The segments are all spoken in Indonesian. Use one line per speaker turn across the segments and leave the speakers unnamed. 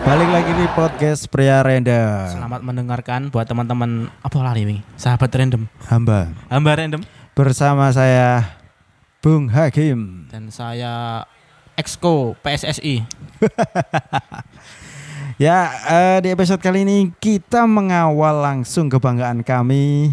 di podcast pria random
Selamat mendengarkan buat teman-teman apa lari ini? Sahabat random,
hamba
hamba random
bersama saya Bung Hakim
dan saya Exco PSSI.
ya eh, di episode kali ini kita mengawal langsung kebanggaan kami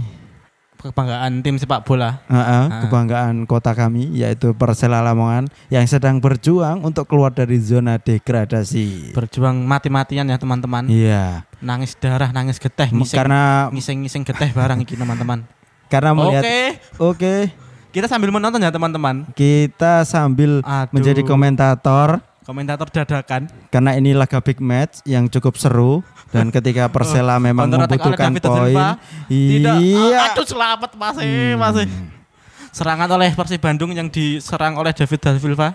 Kebanggaan tim sepak bola.
eh, eh, kebanggaan kota kami yaitu Persela Lamongan yang sedang berjuang untuk keluar dari zona degradasi
Berjuang mati-matian ya teman-teman.
Iya
Nangis darah, nangis geteh,
m-
ngising
karena
ngising-ngising geteh barang iki teman-teman.
karena
Oke,
melihat oke
kita sambil menonton ya teman-teman.
kita sambil
Aduh,
menjadi komentator
komentator dadakan.
karena ini laga big match yang cukup seru dan ketika Persela memang
counter attack oleh
membutuhkan
Oh, David Silva.
poin.
Tidak, ah,
Iya. Hmm.
aduh selamat masih, masih. E. Serangan oleh Persib Bandung yang diserang oleh David da Silva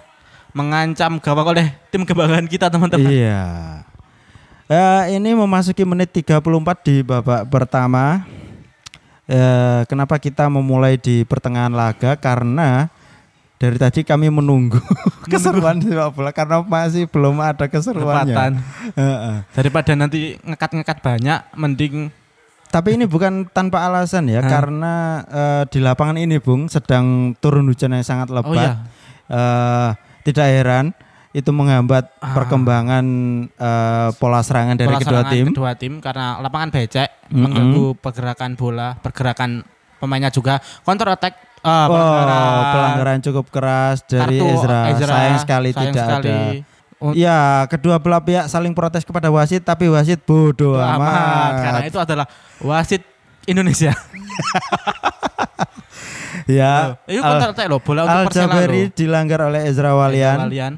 mengancam gawang oleh tim kebanggaan kita teman-teman.
Iya. Eh, ini memasuki menit 34 di babak pertama. Eh, kenapa kita memulai di pertengahan laga? Karena dari tadi kami menunggu keseruan sepak bola karena masih belum ada keseruannya.
Kesempatan.
Heeh.
Daripada nanti ngekat-ngekat banyak mending
Tapi ini bukan tanpa alasan ya,
Hah?
karena eh, di lapangan ini, Bung, sedang turun hujan yang sangat lebat.
Oh iya.
Eh, tidak heran itu menghambat
Ah.
perkembangan eh, pola serangan dari
pola
kedua
serangan
tim.
kedua tim karena lapangan becek
Mm-mm.
mengganggu pergerakan bola, pergerakan pemainnya juga counter attack eh,
Oh,
pelanggaran,
pelanggaran cukup keras dari
kartu
Ezra.
Ezra.
Sayang sekali
Sayang
tidak
sekali.
ada.
Oh,
Ya, kedua belah pihak saling protes kepada wasit, tapi wasit bodoh Iya, amat.
amat. kan? Karena itu adalah wasit Indonesia.
Ya,
Loh, itu
Al,
counter attack loh, bola untuk
Al
Persela
Jabari dilanggar oleh Ezra
loh.
Walian.
Walian.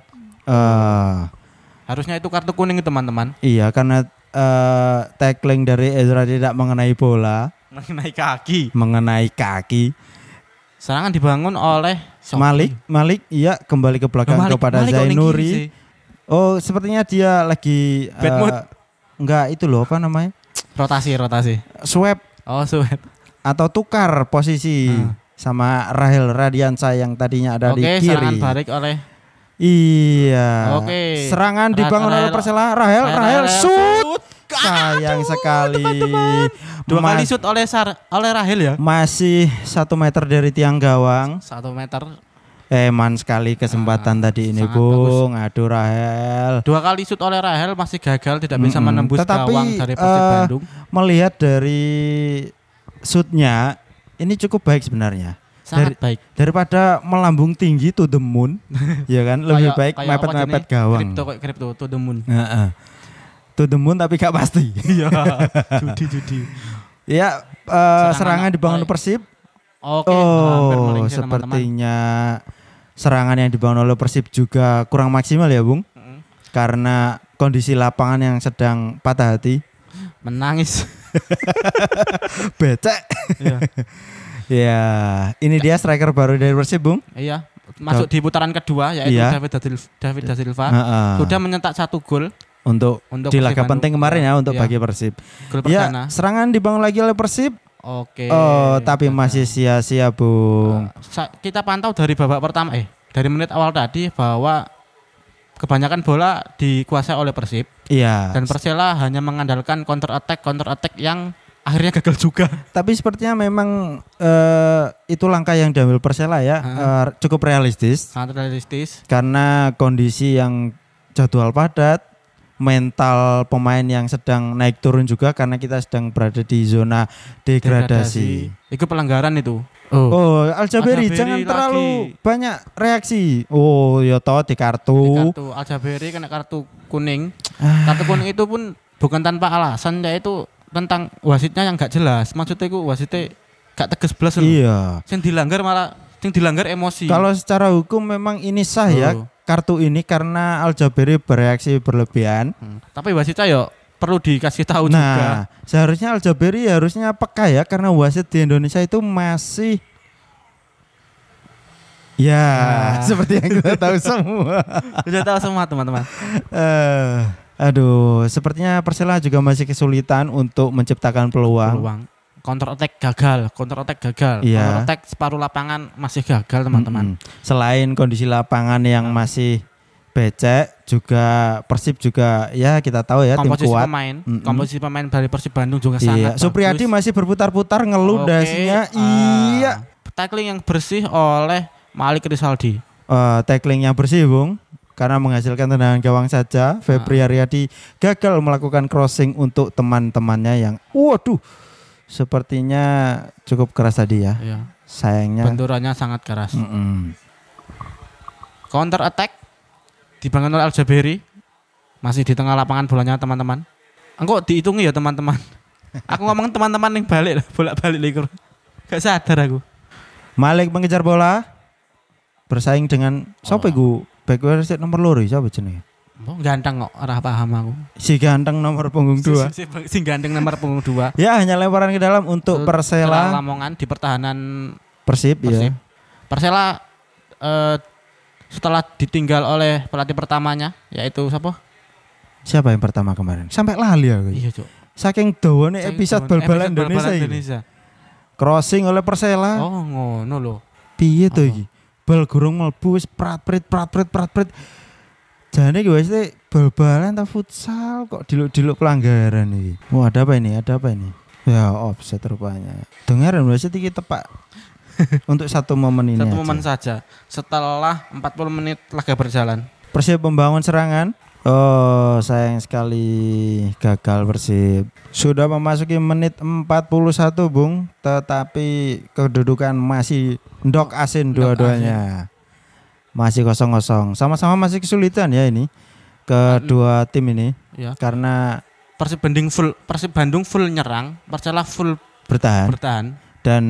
Eh,
Harusnya itu kartu kuning teman-teman
Iya karena eh, tackling dari Ezra tidak mengenai bola,
mengenai kaki.
mengenai kaki.
Serangan dibangun oleh Sofi.
Malik, Malik, iya kembali ke
Loh,
belakang
Malik-
kepada
Malik kok ning kiri
Zainuri.
sih?
Oh sepertinya dia lagi
Bad
eh,
mood.
Enggak itu loh apa namanya?
Rotasi, rotasi.
Swap
Oh, suet.
atau tukar posisi
Hmm.
sama Rahel Radiansa yang tadinya ada
Oke,
di
serangan
kiri.
balik oleh
Iya.
Oke.
Serangan
Ra-
dibangun oleh
Rahel-
Persela. Rahel, Rahel, shoot. Sayang sekali.
Dua
Ma-
kali shoot oleh Sar oleh Rahel ya.
masih satu meter dari tiang gawang.
Satu meter.
Eman sekali kesempatan tadi ini
Ah, sangat
Bung. Aduh Rahel.
Dua kali shoot oleh Rahel masih gagal tidak bisa
Mm-mm.
menembus
Tetapi,
gawang dari Persib
eh,
Bandung.
Melihat dari shootnya ini cukup baik sebenarnya.
Sangat baik.
Daripada melambung tinggi to the moon, ya kan lebih
Kayak-
baik
kayak
mepet-mepet
apa jenis?
gawang.
Kripto kok kripto to the moon.
Heeh. To the moon tapi gak pasti.
Iya. judi judi.
ya eh,
Serangan
serangan dibangun
baik.
Persib.
Oke, hampir
Oh,
melenceng, teman-teman.
sepertinya serangan yang dibangun oleh Persib juga kurang maksimal ya, Bung.
Mm-mm.
karena kondisi lapangan yang sedang patah hati
menangis.
becek
Iya.
ya ini dia striker baru dari Persib Bung
Iya, masuk di putaran kedua yaitu
Iya.
David da Sil- David da Silva.
Heeh.
Sudah mencetak satu gol
untuk
untuk
di laga
Persib Bandung.
penting kemarin ya untuk
Iya,
bagi Persib
gol perdana.
ya serangan dibangun lagi oleh Persib
Oke.
oh tapi
Gagal.
masih sia-sia Bung
Sa- kita pantau dari babak pertama eh dari menit awal tadi bahwa kebanyakan bola dikuasai oleh Persib
iya
dan Persela hanya mengandalkan counter attack counter attack yang akhirnya gagal juga.
tapi sepertinya memang eh, itu langkah yang diambil Persela ya
Heeh.
eh, cukup realistis
Sangat realistis.
karena kondisi yang jadwal padat mental pemain yang sedang naik turun juga karena kita sedang berada di zona degradasi.
Itu pelanggaran itu. Oh.
Oh, Aljaberi
Aljaberi
jangan
lagi.
terlalu banyak reaksi. Oh, ya toh di kartu.
Kartu Al Jaberi kena kartu kuning.
Ah.
Kartu kuning itu pun bukan tanpa alasan yaitu tentang wasitnya yang gak jelas. Maksudnya itu wasitnya gak tegas belas loh.
Iya.
Yang dilanggar malah yang dilanggar emosi.
Kalau secara hukum memang ini sah ya
Oh.
kartu ini karena Aljaberi bereaksi berlebihan.
Hmm. Tapi wasitnya yo perlu dikasih tahu juga.
Nah, seharusnya Aljaberi harusnya peka ya karena wasit di Indonesia itu masih Ya,
Nah.
seperti yang kita tahu semua.
Sudah tahu semua teman-teman.
Eh, aduh, sepertinya Persela juga masih kesulitan untuk menciptakan peluang.
Peluang counter attack gagal, counter attack gagal.
Iya.
Counter attack
Hmm,
separuh lapangan masih gagal teman-teman. Nah.
Mm-mm. Selain kondisi lapangan yang masih becek juga Persib juga ya kita tahu ya tim
komposisi
kuat.
pemain,
Mm-mm.
komposisi pemain dari Persib Bandung juga
Iya,
sangat
Supriyadi
bagus.
masih berputar-putar ngeluh
Oke,
dasinya.
ah,
Iya.
Tackling yang bersih oleh Malik Rizaldi.
Eh, tackling yang bersih, Bung. Karena menghasilkan tendangan gawang saja, Febri Aryadi gagal melakukan crossing untuk teman-temannya yang waduh sepertinya cukup keras tadi ya.
Iya.
Sayangnya.
Benturannya sangat keras.
Mm-mm.
Counter attack dibangun oleh Aljaberi. Masih di tengah lapangan bolanya teman-teman. Engkau dihitungi ya teman-teman. Aku ngomong teman-teman yang balik bolak-balik likur. Gak sadar aku.
Malik mengejar bola bersaing dengan siapa iku? Back wasit nomor loro siapa jenenge?
Mbok ganteng kok, ora paham aku.
Si ganteng nomor punggung
Si,
dua.
si, si- si ganteng nomor punggung dua.
Ya hanya lemparan ke dalam untuk
Setelah
Persela
Lamongan di pertahanan
Persib, ya.
Persib. Persela eh, setelah ditinggal oleh pelatih pertamanya yaitu siapa?
Siapa yang pertama kemarin? Sampai lali aku.
Iya, Cuk.
Saking dawane
Saya
episode
tahu,
bal-balan
episode
Indonesia
bal-balan
iki. Crossing oleh Persela.
Oh, ngono loh.
Piye to
Apa?
iki? Bal gurung mlebu wis prat-prit prat-prit prat-prit. Jane iki wis te bal-balan ta futsal kok diluk-diluk pelanggaran iki. Wah, ada apa ini? Ada apa ini? Ya, offset rupanya. Dengaran wasit iki tepak. Untuk satu momen ini.
Satu
aja.
momen saja. Setelah 40 menit laga berjalan.
Persib membangun serangan. Oh, sayang sekali gagal Persib. Sudah memasuki menit 41, Bung, tetapi kedudukan masih ndok asin
Ndok
dua-duanya. Masih kosong-kosong. Sama-sama masih kesulitan ya ini kedua tim ini
Ya.
karena
Persib Bandung full Persib Bandung full nyerang, Persela full
bertahan
bertahan.
dan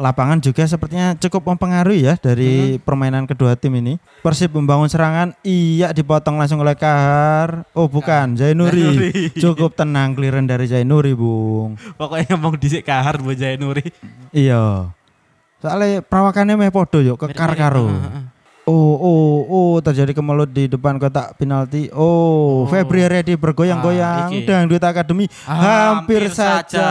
lapangan juga sepertinya cukup mempengaruhi ya dari permainan kedua tim ini. Persib membangun serangan, iya dipotong langsung oleh Kahar. Oh, bukan, Zainuri. Cukup tenang clearan dari Zainuri, Bung.
Pokoknya ngomong dhisik kahar Bu Nuri.
Iya. Soalnya perawakannya meh podo yuk kekar karo. Oh, oh, oh terjadi kemelut di depan kotak penalti. Oh,
Oh.
Febri Redi bergoyang-goyang
Ah, iki.
dangdut akademi hampir,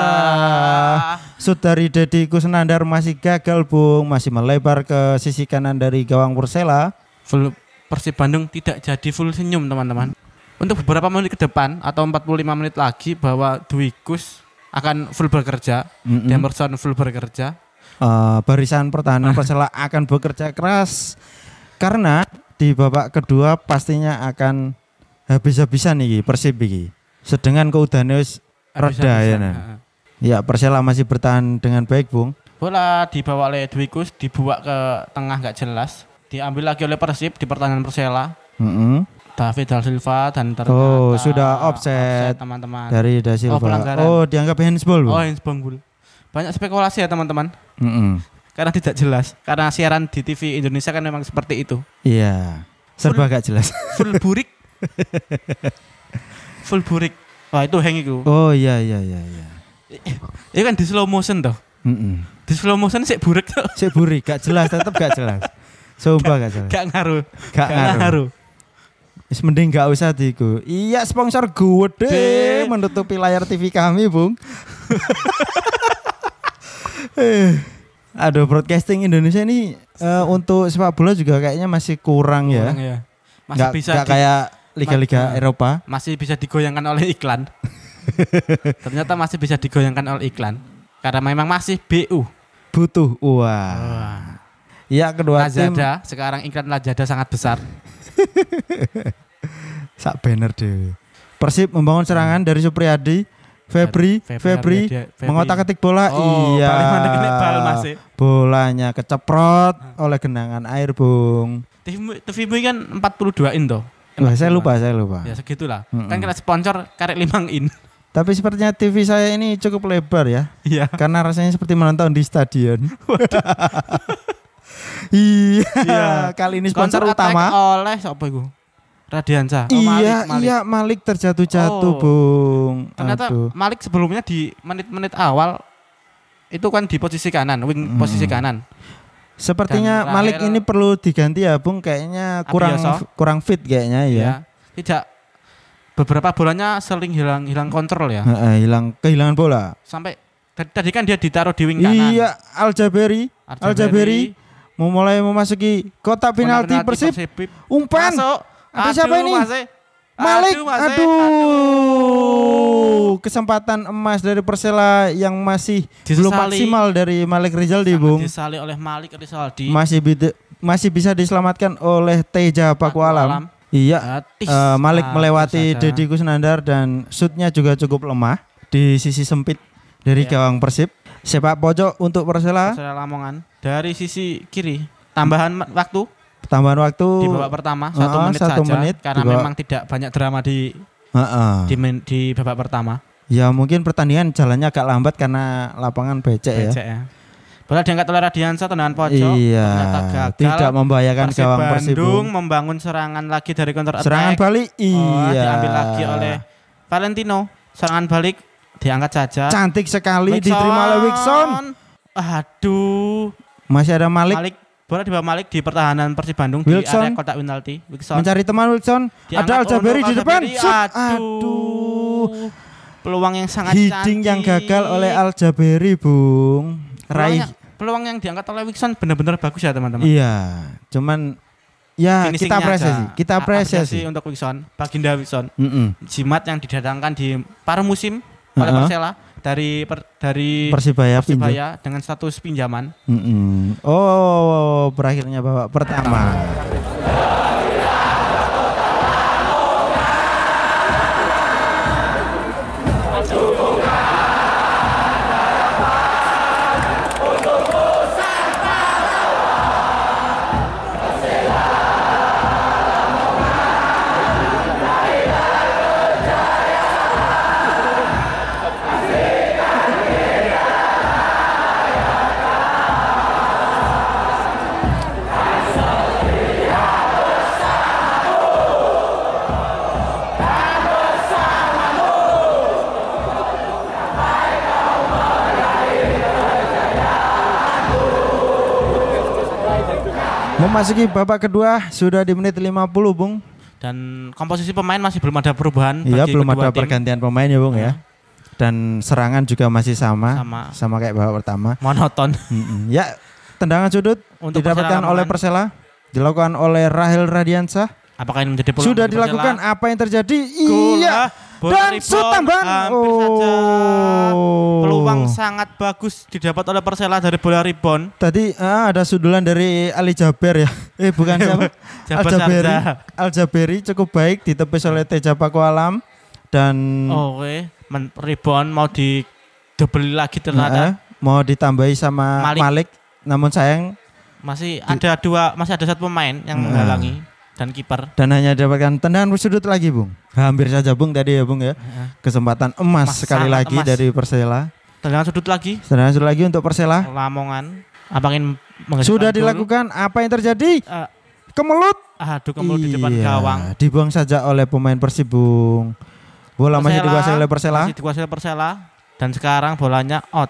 saja. Sud dari Deddy Kusnandar masih gagal Bung Masih melebar ke sisi kanan dari gawang Persela
Full Persib Bandung tidak jadi full senyum, teman-teman. Untuk beberapa menit ke depan atau 45 menit lagi bahwa Dwi Kus akan full bekerja,
Mm-mm.
Demerson full bekerja.
Eh, Barisan pertahanan Persela akan bekerja keras Karena di babak kedua pastinya akan habis-habisan nih Persib iki. Sedangkan keudahannya wis reda ya.
Habis-habisan.
Nah.
Heeh.
Ya Persela masih bertahan dengan baik Bung
Bola dibawa oleh Dwikus, dibuat ke tengah nggak jelas. Diambil lagi oleh Persib di pertahanan Persela.
Mm-mm.
David Da Silva dan ternyata
Oh, sudah offset.
teman-teman.
Dari Da Silva.
pelanggaran.
Oh, dianggap handsball Bung
Oh, handsball goal. Banyak spekulasi ya teman-teman
Mm-mm.
karena tidak jelas. Karena siaran di TV Indonesia kan memang seperti itu.
Iya Serba gak jelas
Full burik. Full burik. Wah, itu hang itu.
Oh iya iya iya iya
Itu kan di slow motion toh.
Mm-mm.
Di slow motion sih burik tuh.
Sik buri, gak jelas, tetep gak jelas. Sumpah gak jelas.
Gak ngaruh.
Gak ngaruh. Wis mending gak usah diku. Iya, sponsor gede
Deh.
menutupi layar TV kami, Bung. Eh, Aduh, broadcasting Indonesia ini eh, untuk sepak bola juga kayaknya masih kurang,
Kurang
ya.
ya. Masih
Gak,
bisa
gak
di-
kayak liga-liga
Ma-
Eropa.
masih bisa digoyangkan oleh iklan. Ternyata masih bisa digoyangkan oleh iklan karena memang masih BU.
Butuh uang. Iya, kedua tim
Lazada sekarang iklan Lazada sangat besar.
sak banner deh. Persib membangun serangan dari Supriyadi, Febri,
Hmm. Febri
Febri,
Ardiadi- Febri.
mengotak-atik bola.
Oh,
iya.
paling mana kena bal ya? Hmm. masih.
Bolanya keceprot oleh genangan air, Bung.
TV TVmu kan 42 in toh.
Wah, saya lupa, saya lupa.
Ya segitulah.
Mm-mm.
Kan kena sponsor karek limang in.
Tapi sepertinya TV saya ini cukup lebar ya,
Iya.
karena rasanya seperti menonton di stadion. iya.
Iya.
Kali ini sponsor
Counter attack
utama.
oleh siapa iku? Radiansa. Oh,
iya,
Malik, Malik.
iya Malik terjatuh-jatuh,
Oh.
Bung.
Ternyata
Aduh.
Malik sebelumnya di menit-menit awal itu kan di posisi kanan, wing posisi kanan.
Sepertinya
Dan
Malik
Rahel-
ini perlu diganti ya, Bung. Kayaknya kurang
Abioso.
kurang fit kayaknya ya.
ya. Tidak beberapa bolanya sering hilang hilang kontrol ya.
Heeh, hilang kehilangan bola.
Sampai tadi, tadi kan dia ditaruh di wing kanan.
Iya, Aljaberi. Aljaberi memulai memasuki kotak penalti
Penalti
Persib.
Persib.
Umpan.
Masuk.
Ada siapa
Aduh,
ini?
Masih.
Malik.
Aduh,
Aduh,
Masih.
Kesempatan emas dari Persela yang masih belum
Disesali.
maksimal dari Malik Rizaldi,
Sangat
Iya, Bung.
Disali oleh Malik Rizaldi.
Masih bide- masih bisa diselamatkan oleh Teja Pakualam.
Pakualam.
Iya.
Gratis.
eh, Malik
Gratis
melewati
Nah, saja.
Deddy Kusnandar dan shootnya juga cukup lemah di sisi sempit dari
Iya.
gawang Persib. Sepak pojok untuk Persela.
Saudara Lamongan dari sisi kiri tambahan ma- waktu
Tambahan waktu.
di babak pertama satu
ah,
menit
satu
saja
menit
karena
di babak-
memang tidak banyak drama di
Heeh.
di, men- di babak pertama
Ya mungkin pertandingan jalannya agak lambat karena lapangan becek ya.
Becek ya. Bola diangkat oleh Radiansa tendangan pojok
Iya.
ternyata gagal.
Tidak membahayakan
Persib
gawang Persib.
Bandung
Bung.
membangun serangan lagi dari counter attack
Serangan balik
Oh,
iya.
diambil lagi oleh Valentino serangan balik diangkat saja
Cantik sekali
Wilson.
diterima oleh Wilson.
aduh
Masih ada
Malik.
Malik,
bola di bawah Malik di pertahanan Persib Bandung di
Wilson.
area kotak penalti. Wilson.
mencari teman Wilson.
Diangkat
ada Aljaberi
untuk
di depan.
Aljaberi.
Shoot.
Aduh.
Aduh.
Peluang yang sangat
Heading
cantik. ya?
yang gagal oleh Aljaberi, Bung. Raih.
Peluang yang- Peluang yang diangkat oleh Wilson benar-benar bagus ya, teman-teman.
Iya. Cuman ya
Finishingnya
kita apresiasi,
aja.
kita
A-
apresiasi.
untuk Wilson, Baginda Wilson.
Mm-mm.
Jimat yang didatangkan di paruh musim oleh
Uh-uh.
Persela dari per- dari
Persibaya pinjam.
Persibaya dengan status pinjaman.
Mm-mm. Oh, berakhirnya babak pertama. Memasuki babak kedua sudah di menit 50, Bung.
Dan komposisi pemain masih belum ada perubahan
Iya,
bagi
belum ada
kedua tim.
pergantian pemain ya, Bung ya. Dan serangan juga masih sama,
Sama.
sama kayak babak pertama.
Monoton.
Mm-mm. Ya, tendangan sudut
Untuk
didapatkan
Persela
oleh
Lamongan.
Persela, dilakukan oleh Rahel Radiansyah.
Apakah ini menjadi peluang
Sudah
bagi Persela?
dilakukan apa yang terjadi?
Gol,
Iya.
ah. Bola
Dan
rebound,
shoot tambahan.
hampir saja.
Oh.
Peluang sangat bagus didapat oleh Persela dari bola rebound.
Tadi ah, ada sundulan dari Ali Jaber ya. Eh bukan siapa?
Jabar
Aljaberi.
Sarja.
Aljaberi cukup baik ditepis oleh Teja Pakualam dan
Oke, Oh, men- rebound mau di double lagi
Heeh,
ternyata
ah, mau ditambahi sama Malik.
Malik.
namun sayang
masih ada dua, masih ada satu pemain yang
Nah.
menghalangi dan kiper.
dan hanya dapatkan tendangan sudut lagi, Bung. Hampir saja Bung tadi ya, Bung ya. Kesempatan emas
Emas,
sekali
sangat
lagi
emas.
dari Persela.
Tendangan sudut lagi
Tendangan sudut lagi untuk Persela.
Lamongan. Apakah ini menghasilkan
Sudah
gol?
dilakukan apa yang terjadi?
Eh,
Kemelut.
aduh kemudian di depan
Iya,
gawang.
Dibuang saja oleh pemain Persib, Bung. Bola masih
Persela,
dikuasai oleh Persela.
Masih dikuasai oleh Persela dan sekarang bolanya out.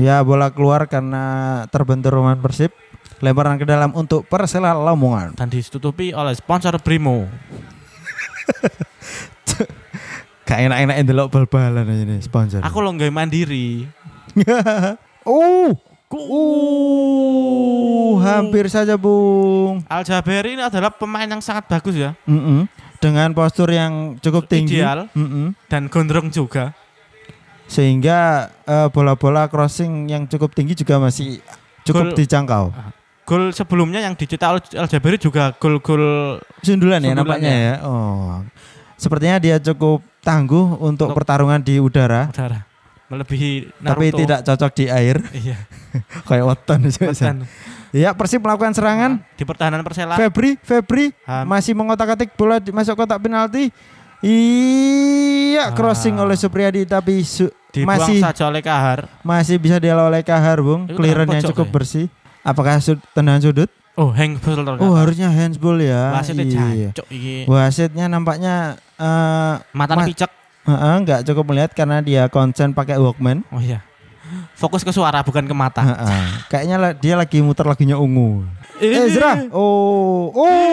Ya bola keluar karena terbentur pemain Persib. Lemparan ke dalam untuk Persela Lamongan.
dan ditutupi oleh sponsor Brimo.
Kayak enak-enak ndelok bal-balan aja nih sponsor.
Aku lo nggak mandiri.
oh, uh, hampir saja Bung.
Al Jaberi ini adalah pemain yang sangat bagus ya
Mm-mm. Dengan postur yang cukup tinggi,
Ideal.
Mm-mm.
dan gondrong juga.
sehingga eh, bola-bola crossing yang cukup tinggi juga masih cukup
Gol.
dijangkau.
Ah. Gol sebelumnya yang dicetak oleh Al Jaberi juga gol-gol
Sundulan ya
Sundulan
nampaknya
ya.
ya. Oh, sepertinya dia cukup tangguh untuk
Untuk-
pertarungan di udara.
udara melebihi Naruto.
tapi tidak cocok di air
Iya.
kayak weton
Dan
ya Persib melakukan serangan
di pertahanan Persela
Febri Febri
Ham.
masih mengotak-atik bola di- masuk kotak penalti iya
Ah.
crossing oleh Supriyadi tapi su-
dibuang
masih-
saja oleh Kahar.
masih bisa dilawan oleh Kahar Bung
Itu
clearance yang
pojok
cukup
ya?
bersih apakah sud tendangan sudut
Oh, hang betul
oh harusnya handsball ya
Wasitnya
iya.
jancuk iki.
wasitnya nampaknya eh,
Mata
Mas-
picek.
eh, nggak cukup melihat karena dia konsen pakai Walkman
Oh iya. Fokus ke suara bukan ke mata.
Eh, eh. kayaknya la- dia lagi muter lagunya ungu Ezra. Oh, oh,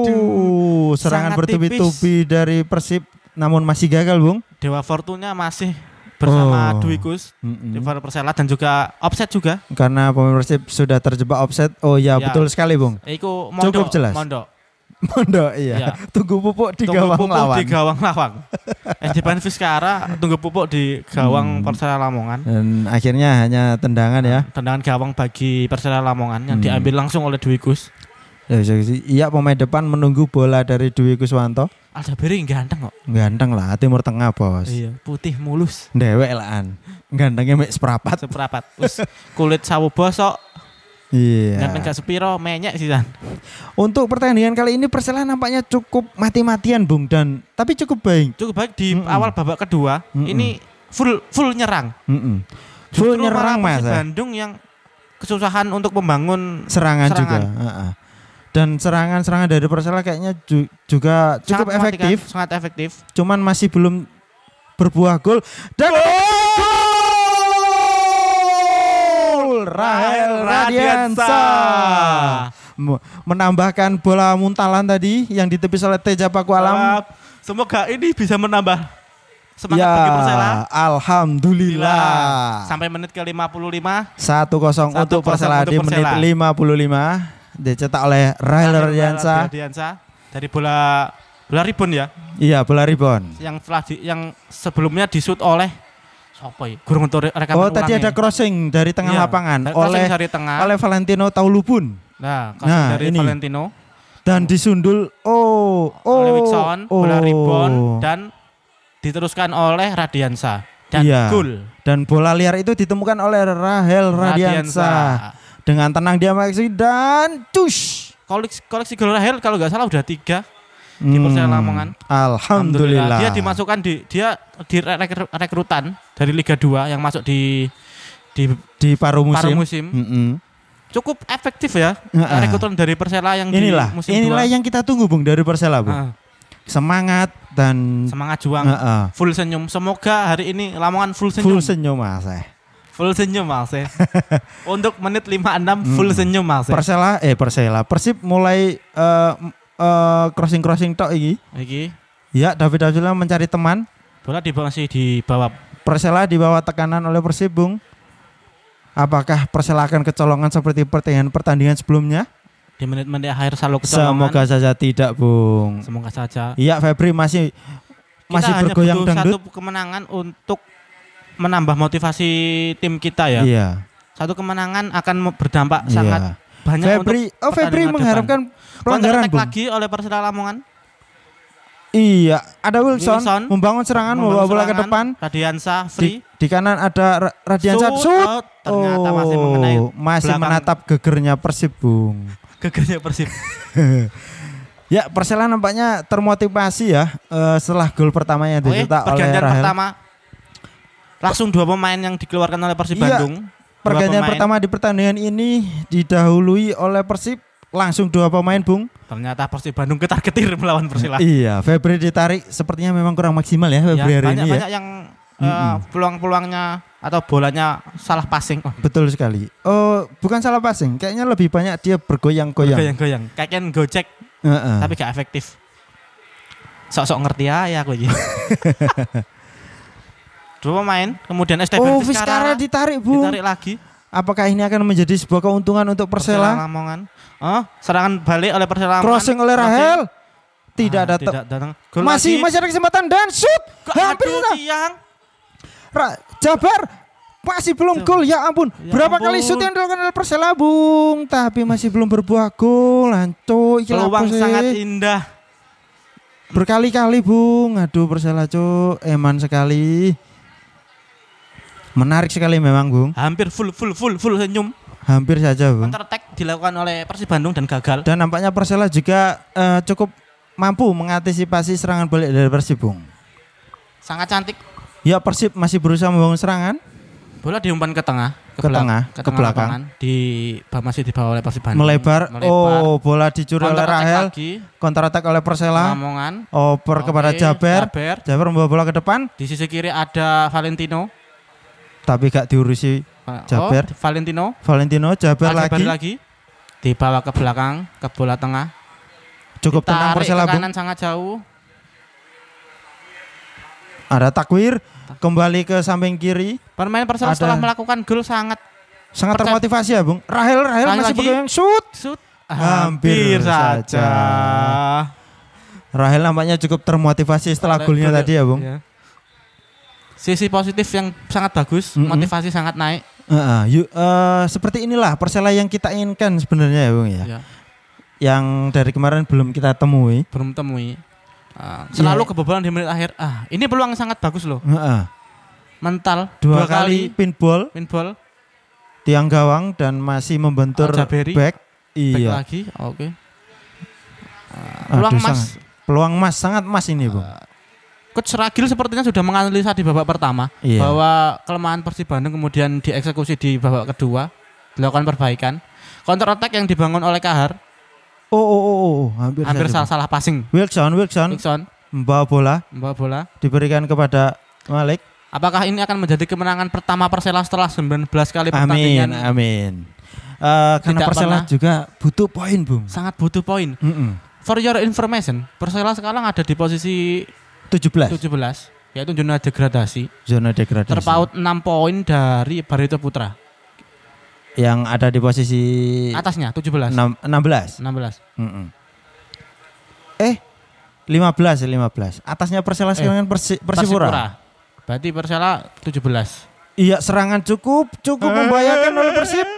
Aduh.
serangan
Sangat
bertubi-tubi dari Persib, namun masih gagal, Bung.
Dewa Fortuna masih bersama
Oh. Hmm.
Duikus,
Mm-mm.
River Persela dan juga Offset juga.
Karena pemain Persib sudah terjebak offset. Oh ya,
Ya.
betul sekali, Bung.
Iku mondok,
Cukup jelas.
mondok.
Mondok iya.
Iya.
Tunggu pupuk di
Tunggu
gawang
pupuk
lawan.
Di gawang lawan. SD Pan Fiskara tunggu pupuk di gawang Persela Lamongan.
Dan akhirnya hanya tendangan Hmm. ya.
Tendangan gawang bagi Persela Lamongan yang
Hmm.
diambil langsung oleh Duikus.
Ya, bisa sih. Iya, pemain depan menunggu bola dari Dwi Kuswanto.
Aljabiri ganteng kok.
Ganteng lah, Timur Tengah, Bos.
Iya, putih mulus.
Dewek laan. Gantengnya mek seprapat.
Seperapat. Terus kulit sawo bosok, ganteng kan.
Iya.
gak sepiro, menyek sih San.
Untuk pertandingan kali ini Persela nampaknya cukup mati-matian, Bung, dan tapi cukup baik.
Cukup baik di
Mm-mm.
awal babak kedua.
Mm-mm.
Ini full full nyerang.
Mm-mm. Full
Justru
nyerang
malah
mas.
Persib
ya.
Bandung yang kesusahan untuk membangun
Serangan, juga.
Serangan.
Heeh. Dan serangan-serangan dari Persela kayaknya ju- juga cukup
sangat mematikan,
efektif,
kan? sangat efektif.
cuman masih belum berbuah gol. Dan gol! Rahel Radiansa Mu- menambahkan bola muntalan tadi yang ditepis oleh Teja Paku Alam.
Wah, Semoga ini bisa menambah semangat
ya,
bagi Persela.
alhamdulillah.
Sampai menit ke-55
1-0 untuk
1-0
Persela
untuk
di menit
Persela.
55 dicetak oleh Rahel Radiansa.
Radiansa dari bola bola ribon ya
Iya, bola rebound.
yang telah di, yang sebelumnya disut oleh Sopo ya? Gurung untuk rekaman
Oh, tadi ada
ulangnya.
crossing dari tengah
Iya,
lapangan
dari-
oleh
crossing dari tengah.
oleh Valentino Taulubun
nah, crossing
Nah,
dari
ini.
Valentino
dan disundul oh oh
oleh Wilson,
oh,
bola rebound dan diteruskan oleh Radiansa dan
Iya.
gol
dan bola liar itu ditemukan oleh Rahel Radiansa dengan tenang dia mengeksekusi dan cus
Koleksi, koleksi gol Rahel kalau nggak salah udah tiga.
di
Persela Lamongan.
Hmm. Alhamdulillah.
Dia dimasukkan di dia di rekr- rekrutan dari Liga 2 yang masuk di di
di paruh musim.
paruh musim.
Mm-mm.
Cukup efektif ya
Heeh.
rekrutan dari Persela yang
Inilah,
di musim
inilah
dua.
yang kita tunggu Bung dari Persela, Bung.
Ah,
Semangat dan
semangat juang.
Heeh.
Full senyum. Semoga hari ini Lamongan full senyum.
full senyum Mas. eh.
Full senyum Mas. ya. Untuk menit 56 full
Mm.
senyum Mas. ya.
Persela eh Persela, Persib mulai eh, m- eh, crossing-crossing tok iki.
Iki
Ya, David Abdullah mencari teman.
bola di bawah sih di bawah.
Persela di bawah tekanan oleh Persib, Bung. Apakah Persela akan kecolongan seperti pertandingan pertandingan sebelumnya?
di menit-menit akhir selalu kecolongan.
Semoga saja tidak, Bung.
semoga saja
Iya, Febri masih masih
kita
bergoyang
hanya butuh
dangdut.
satu kemenangan untuk menambah motivasi tim kita ya.
Iya.
Satu kemenangan akan me- berdampak
iya.
sangat banyak
Febri, oh Febri
pertandingan
mengharapkan
untuk
pelanggaran,
pelanggaran
Bung.
lagi oleh Persela Lamongan.
Iya, ada Wilson,
Wilson.
membangun serangan,
Membangun
membawa bola ke
serangan,
depan.
Radiansa
Di,
free.
di kanan ada Ra- Radiansa.
Shoot
Shoot.
out. ternyata masih
Oh,
mengenai
masih
belakang.
menatap gegernya Persib, Bung.
gegernya Persib.
Ya, Persela nampaknya termotivasi ya eh, setelah gol pertamanya
Oke,
dicetak oleh
Oh iya, pergantian
Rahel.
pertama langsung dua pemain yang dikeluarkan oleh Persib
Iya,
Bandung. Dua
Pergantian
pemain.
pertama di pertandingan ini didahului oleh Persib langsung dua pemain, Bung.
Ternyata Persib Bandung ketar-ketir melawan Persela.
Iya, Febri ditarik sepertinya memang kurang maksimal ya Febri
ya,
hari
banyak
ini ya.
banyak yang eh,
Mm-mm.
peluang-peluangnya atau bolanya salah passing oh,
Betul sekali. Oh, bukan salah passing, kayaknya lebih banyak dia bergoyang-goyang.
goyang-goyang kayak kan gojek
Heeh.
tapi gak efektif sok-sok ngerti ya aku ini dua pemain kemudian Esteban
oh, Vizcara
Vizcara
ditarik, Bung.
ditarik lagi
Apakah ini akan menjadi sebuah keuntungan untuk Persela?
Lamongan oh serangan balik oleh Persela Lamongan.
Crossing oleh
Crossing.
Rahel. Tidak
Ah,
ada te-
tidak datang Gol
masih
lagi.
masih ada kesempatan dan shoot.
Ke-
Hampir
aduh,
lah.
tiang
Ra- Jabar masih belum
Tuh.
gol ya ampun.
Ya
Berapa
ampun.
kali shoot yang dilakukan oleh Persela Bung, tapi masih belum berbuah gol. Lanco iki lapo
peluang
sih?
sangat indah
berkali-kali Bung. Aduh Persela Cuk, eman sekali. Menarik sekali memang Bung.
hampir full full full full senyum
Hmm. Hampir saja Bung.
counter attack dilakukan oleh Persib Bandung dan gagal
Dan nampaknya Persela juga eh, cukup mampu mengantisipasi serangan balik dari Persib Bung.
sangat cantik
Ya Persib masih berusaha membangun serangan.
bola diumpan ke tengah
Ke tengah,
belak- ke,
ke belakang.
lapangan. di bah- masih dibawa oleh Persib Bandung
Melebar. Oh, bola dicuri oleh
Counter attack
Rahel.
lagi
Counter attack oleh Persela.
Lamongan
Oper
Oke,
kepada Jaber.
Jaber.
Jaber membawa bola ke depan
di sisi kiri ada Valentino
tapi gak diurusi Jaber.
oh, Valentino
Valentino Jaber
Ah,
lagi.
Jaber lagi dibawa ke belakang ke bola tengah
Cukup tenang
tarik ke
Persela Bung.
kanan sangat jauh
Ada takwir kembali ke samping kiri.
Pemain Persela
Ada-
setelah melakukan gol sangat
Sangat
Percaya-
termotivasi ya, Bung. Rahel Rahel
Sekali
masih
lagi.
pegang shoot.
shoot
Hampir saja. Rahel nampaknya cukup termotivasi setelah
Ada
golnya
gol
tadi ya, Bung.
Ya. Sisi positif yang sangat bagus,
Mm-mm.
motivasi sangat naik.
Heeh, yu- eh, seperti inilah Persela yang kita inginkan sebenarnya ya, Bung ya.
Ya.
Yang dari kemarin belum kita temui.
Belum temui. Ah,
Iya.
selalu kebobolan di menit akhir. Ah, ini peluang sangat bagus loh.
Heeh.
Mental
Dua, kali, pinball
pinball
tiang gawang dan masih membentur
Aljaberi.
back.
back
Iya.
lagi. Oke.
Aduh,
Ah, peluang
sangat.
Mas
Peluang emas sangat emas ini, Bung.
Coach Ragil sepertinya kan sudah menganalisa di babak pertama
Iya.
bahwa kelemahan Persib Bandung kemudian dieksekusi di babak kedua, dilakukan perbaikan. Counter attack yang dibangun oleh Kahar
Oh, oh, oh, oh, oh, hampir, saja,
hampir
Kan? Bung.
salah-salah passing.
Wilson, Wilson
Nixon
membawa bola
membawa bola.
diberikan kepada Malik.
Apakah ini akan menjadi kemenangan pertama Persela setelah 19 kali
Amin,
pertandingan?
amin. Eh, karena
Tidak
Persela
pernah.
juga butuh poin, Bung.
Sangat butuh poin.
Mm-mm.
For your information, Persela sekarang ada di posisi
17
17 yaitu zona degradasi,
zona degradasi.
terpaut 6 poin dari Barito Putra.
yang ada di posisi
Atasnya 17, 16.
Iya. enam- 16. Mm-mm. Eh, 15 ya, 15. Atasnya Persela
Eh,
serangan Persi- Persipura.
Berarti Persela 17.
Iya, serangan cukup cukup
Eh.
membahayakan oleh Persib.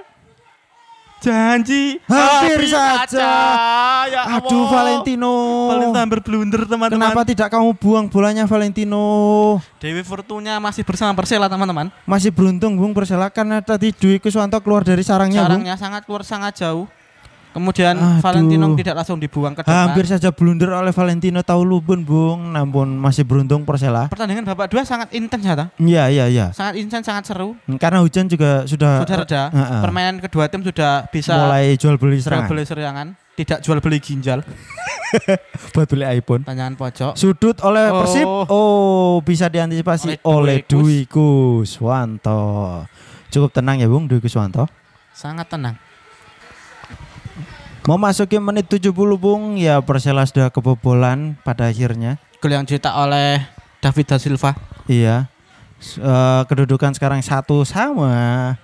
Janji
Hampir saja.
Ya
Aduh,
Allah.
Valentino.
Valentino hampir blunder teman-teman.
Kenapa tidak kamu buang bolanya Valentino?
Dewi Fortunya masih bersama Persela teman-teman.
Masih beruntung Bung Persela karena tadi Dwi Kuswanto keluar dari sarangnya Bung.
Sarangnya sangat luar sangat jauh. Kemudian
Aduh.
Valentino tidak langsung dibuang ke depan.
Hampir saja blunder oleh Valentino Taulubun Bung, namun masih beruntung Persela.
Pertandingan babak dua sangat intens ya, Ta.
Iya, iya, iya.
sangat intens, sangat seru.
Karena hujan juga sudah,
Sudah reda.
Heeh.
Permainan kedua tim sudah bisa
eh, mulai jual beli
jual
serangan
beli serangan, tidak jual beli ginjal.
buat beli iPhone.
Pertanyaan pojok.
Sudut oleh
Oh.
Persib. Oh, bisa diantisipasi oleh
Oleh
Dwi Kuswanto. Cukup tenang ya Bung Dwi Kuswanto.
Sangat tenang.
Memasuki menit 70 Bung, ya Persela sudah kebobolan pada akhirnya.
Gol yang dicetak oleh David da Silva.
Iya. S- eh, kedudukan sekarang satu sama.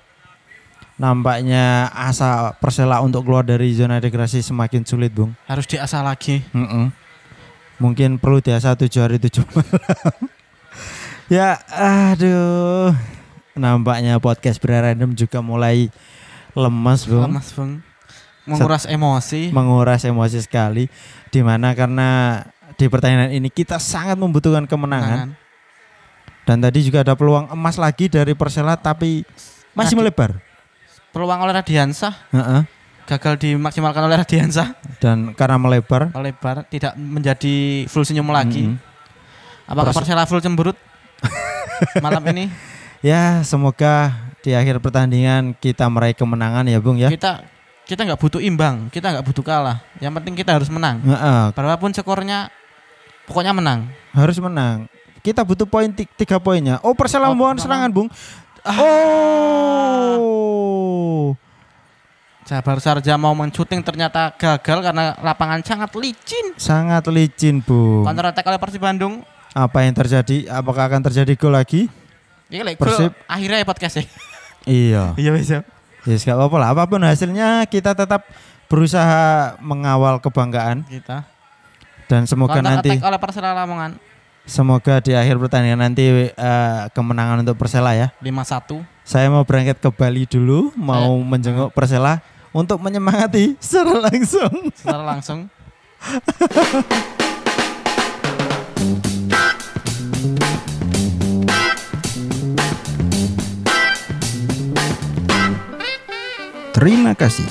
Nampaknya asa Persela untuk keluar dari zona degradasi semakin sulit, Bung.
Harus diasah lagi.
Mm-mm. Mungkin perlu diasah tujuh hari tujuh malam. ya, aduh. Nampaknya podcast berandom juga mulai lemas, Bung.
Lemas, Bung. Menguras emosi.
menguras emosi sekali dimana karena di pertandingan ini kita sangat membutuhkan kemenangan
Tangan.
dan tadi juga ada peluang emas lagi dari Persela tapi masih
Radi-
melebar
Peluang oleh Radiansah
Heeh.
gagal dimaksimalkan oleh Radiansah.
dan karena melebar
Lebar tidak menjadi full senyum
mm,
lagi. Apakah
Perse-
Persela full cemberut malam ini?
ya semoga di akhir pertandingan kita meraih kemenangan ya Bung ya
Kita kita nggak butuh imbang, kita nggak butuh kalah. Yang penting kita harus menang.
Heeh,
Berapapun skornya, pokoknya menang.
harus menang kita butuh poin ti- tiga poinnya oh Persela
Oh,
membawa
tenang.
serangan Bung oh
Jabar Sarja mau mencuting ternyata gagal karena lapangan sangat licin.
sangat licin Bung
Counter attack oleh Persib Bandung.
apa yang terjadi apakah akan terjadi gol lagi
Iki lek
Persib.
Persib akhirnya ya podcast ya.
Iya.
Iya bisa.
Ya yes, apa-apa lah. Apapun hasilnya kita tetap berusaha mengawal kebanggaan
Kita.
dan semoga
Counter
nanti
attack oleh Persela Lamongan
semoga di akhir pertandingan nanti eh, kemenangan untuk Persela ya.
5-1.
Saya mau berangkat ke Bali dulu, mau menjenguk Persela untuk menyemangati secara langsung.
secara langsung.
Terima kasih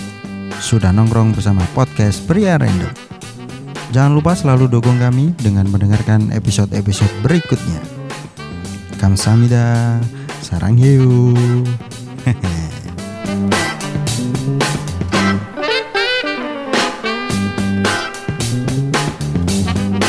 sudah nongkrong bersama podcast Pria Random. Jangan lupa selalu dukung kami dengan mendengarkan episode-episode berikutnya. Kamsahamnida, sarang hiu.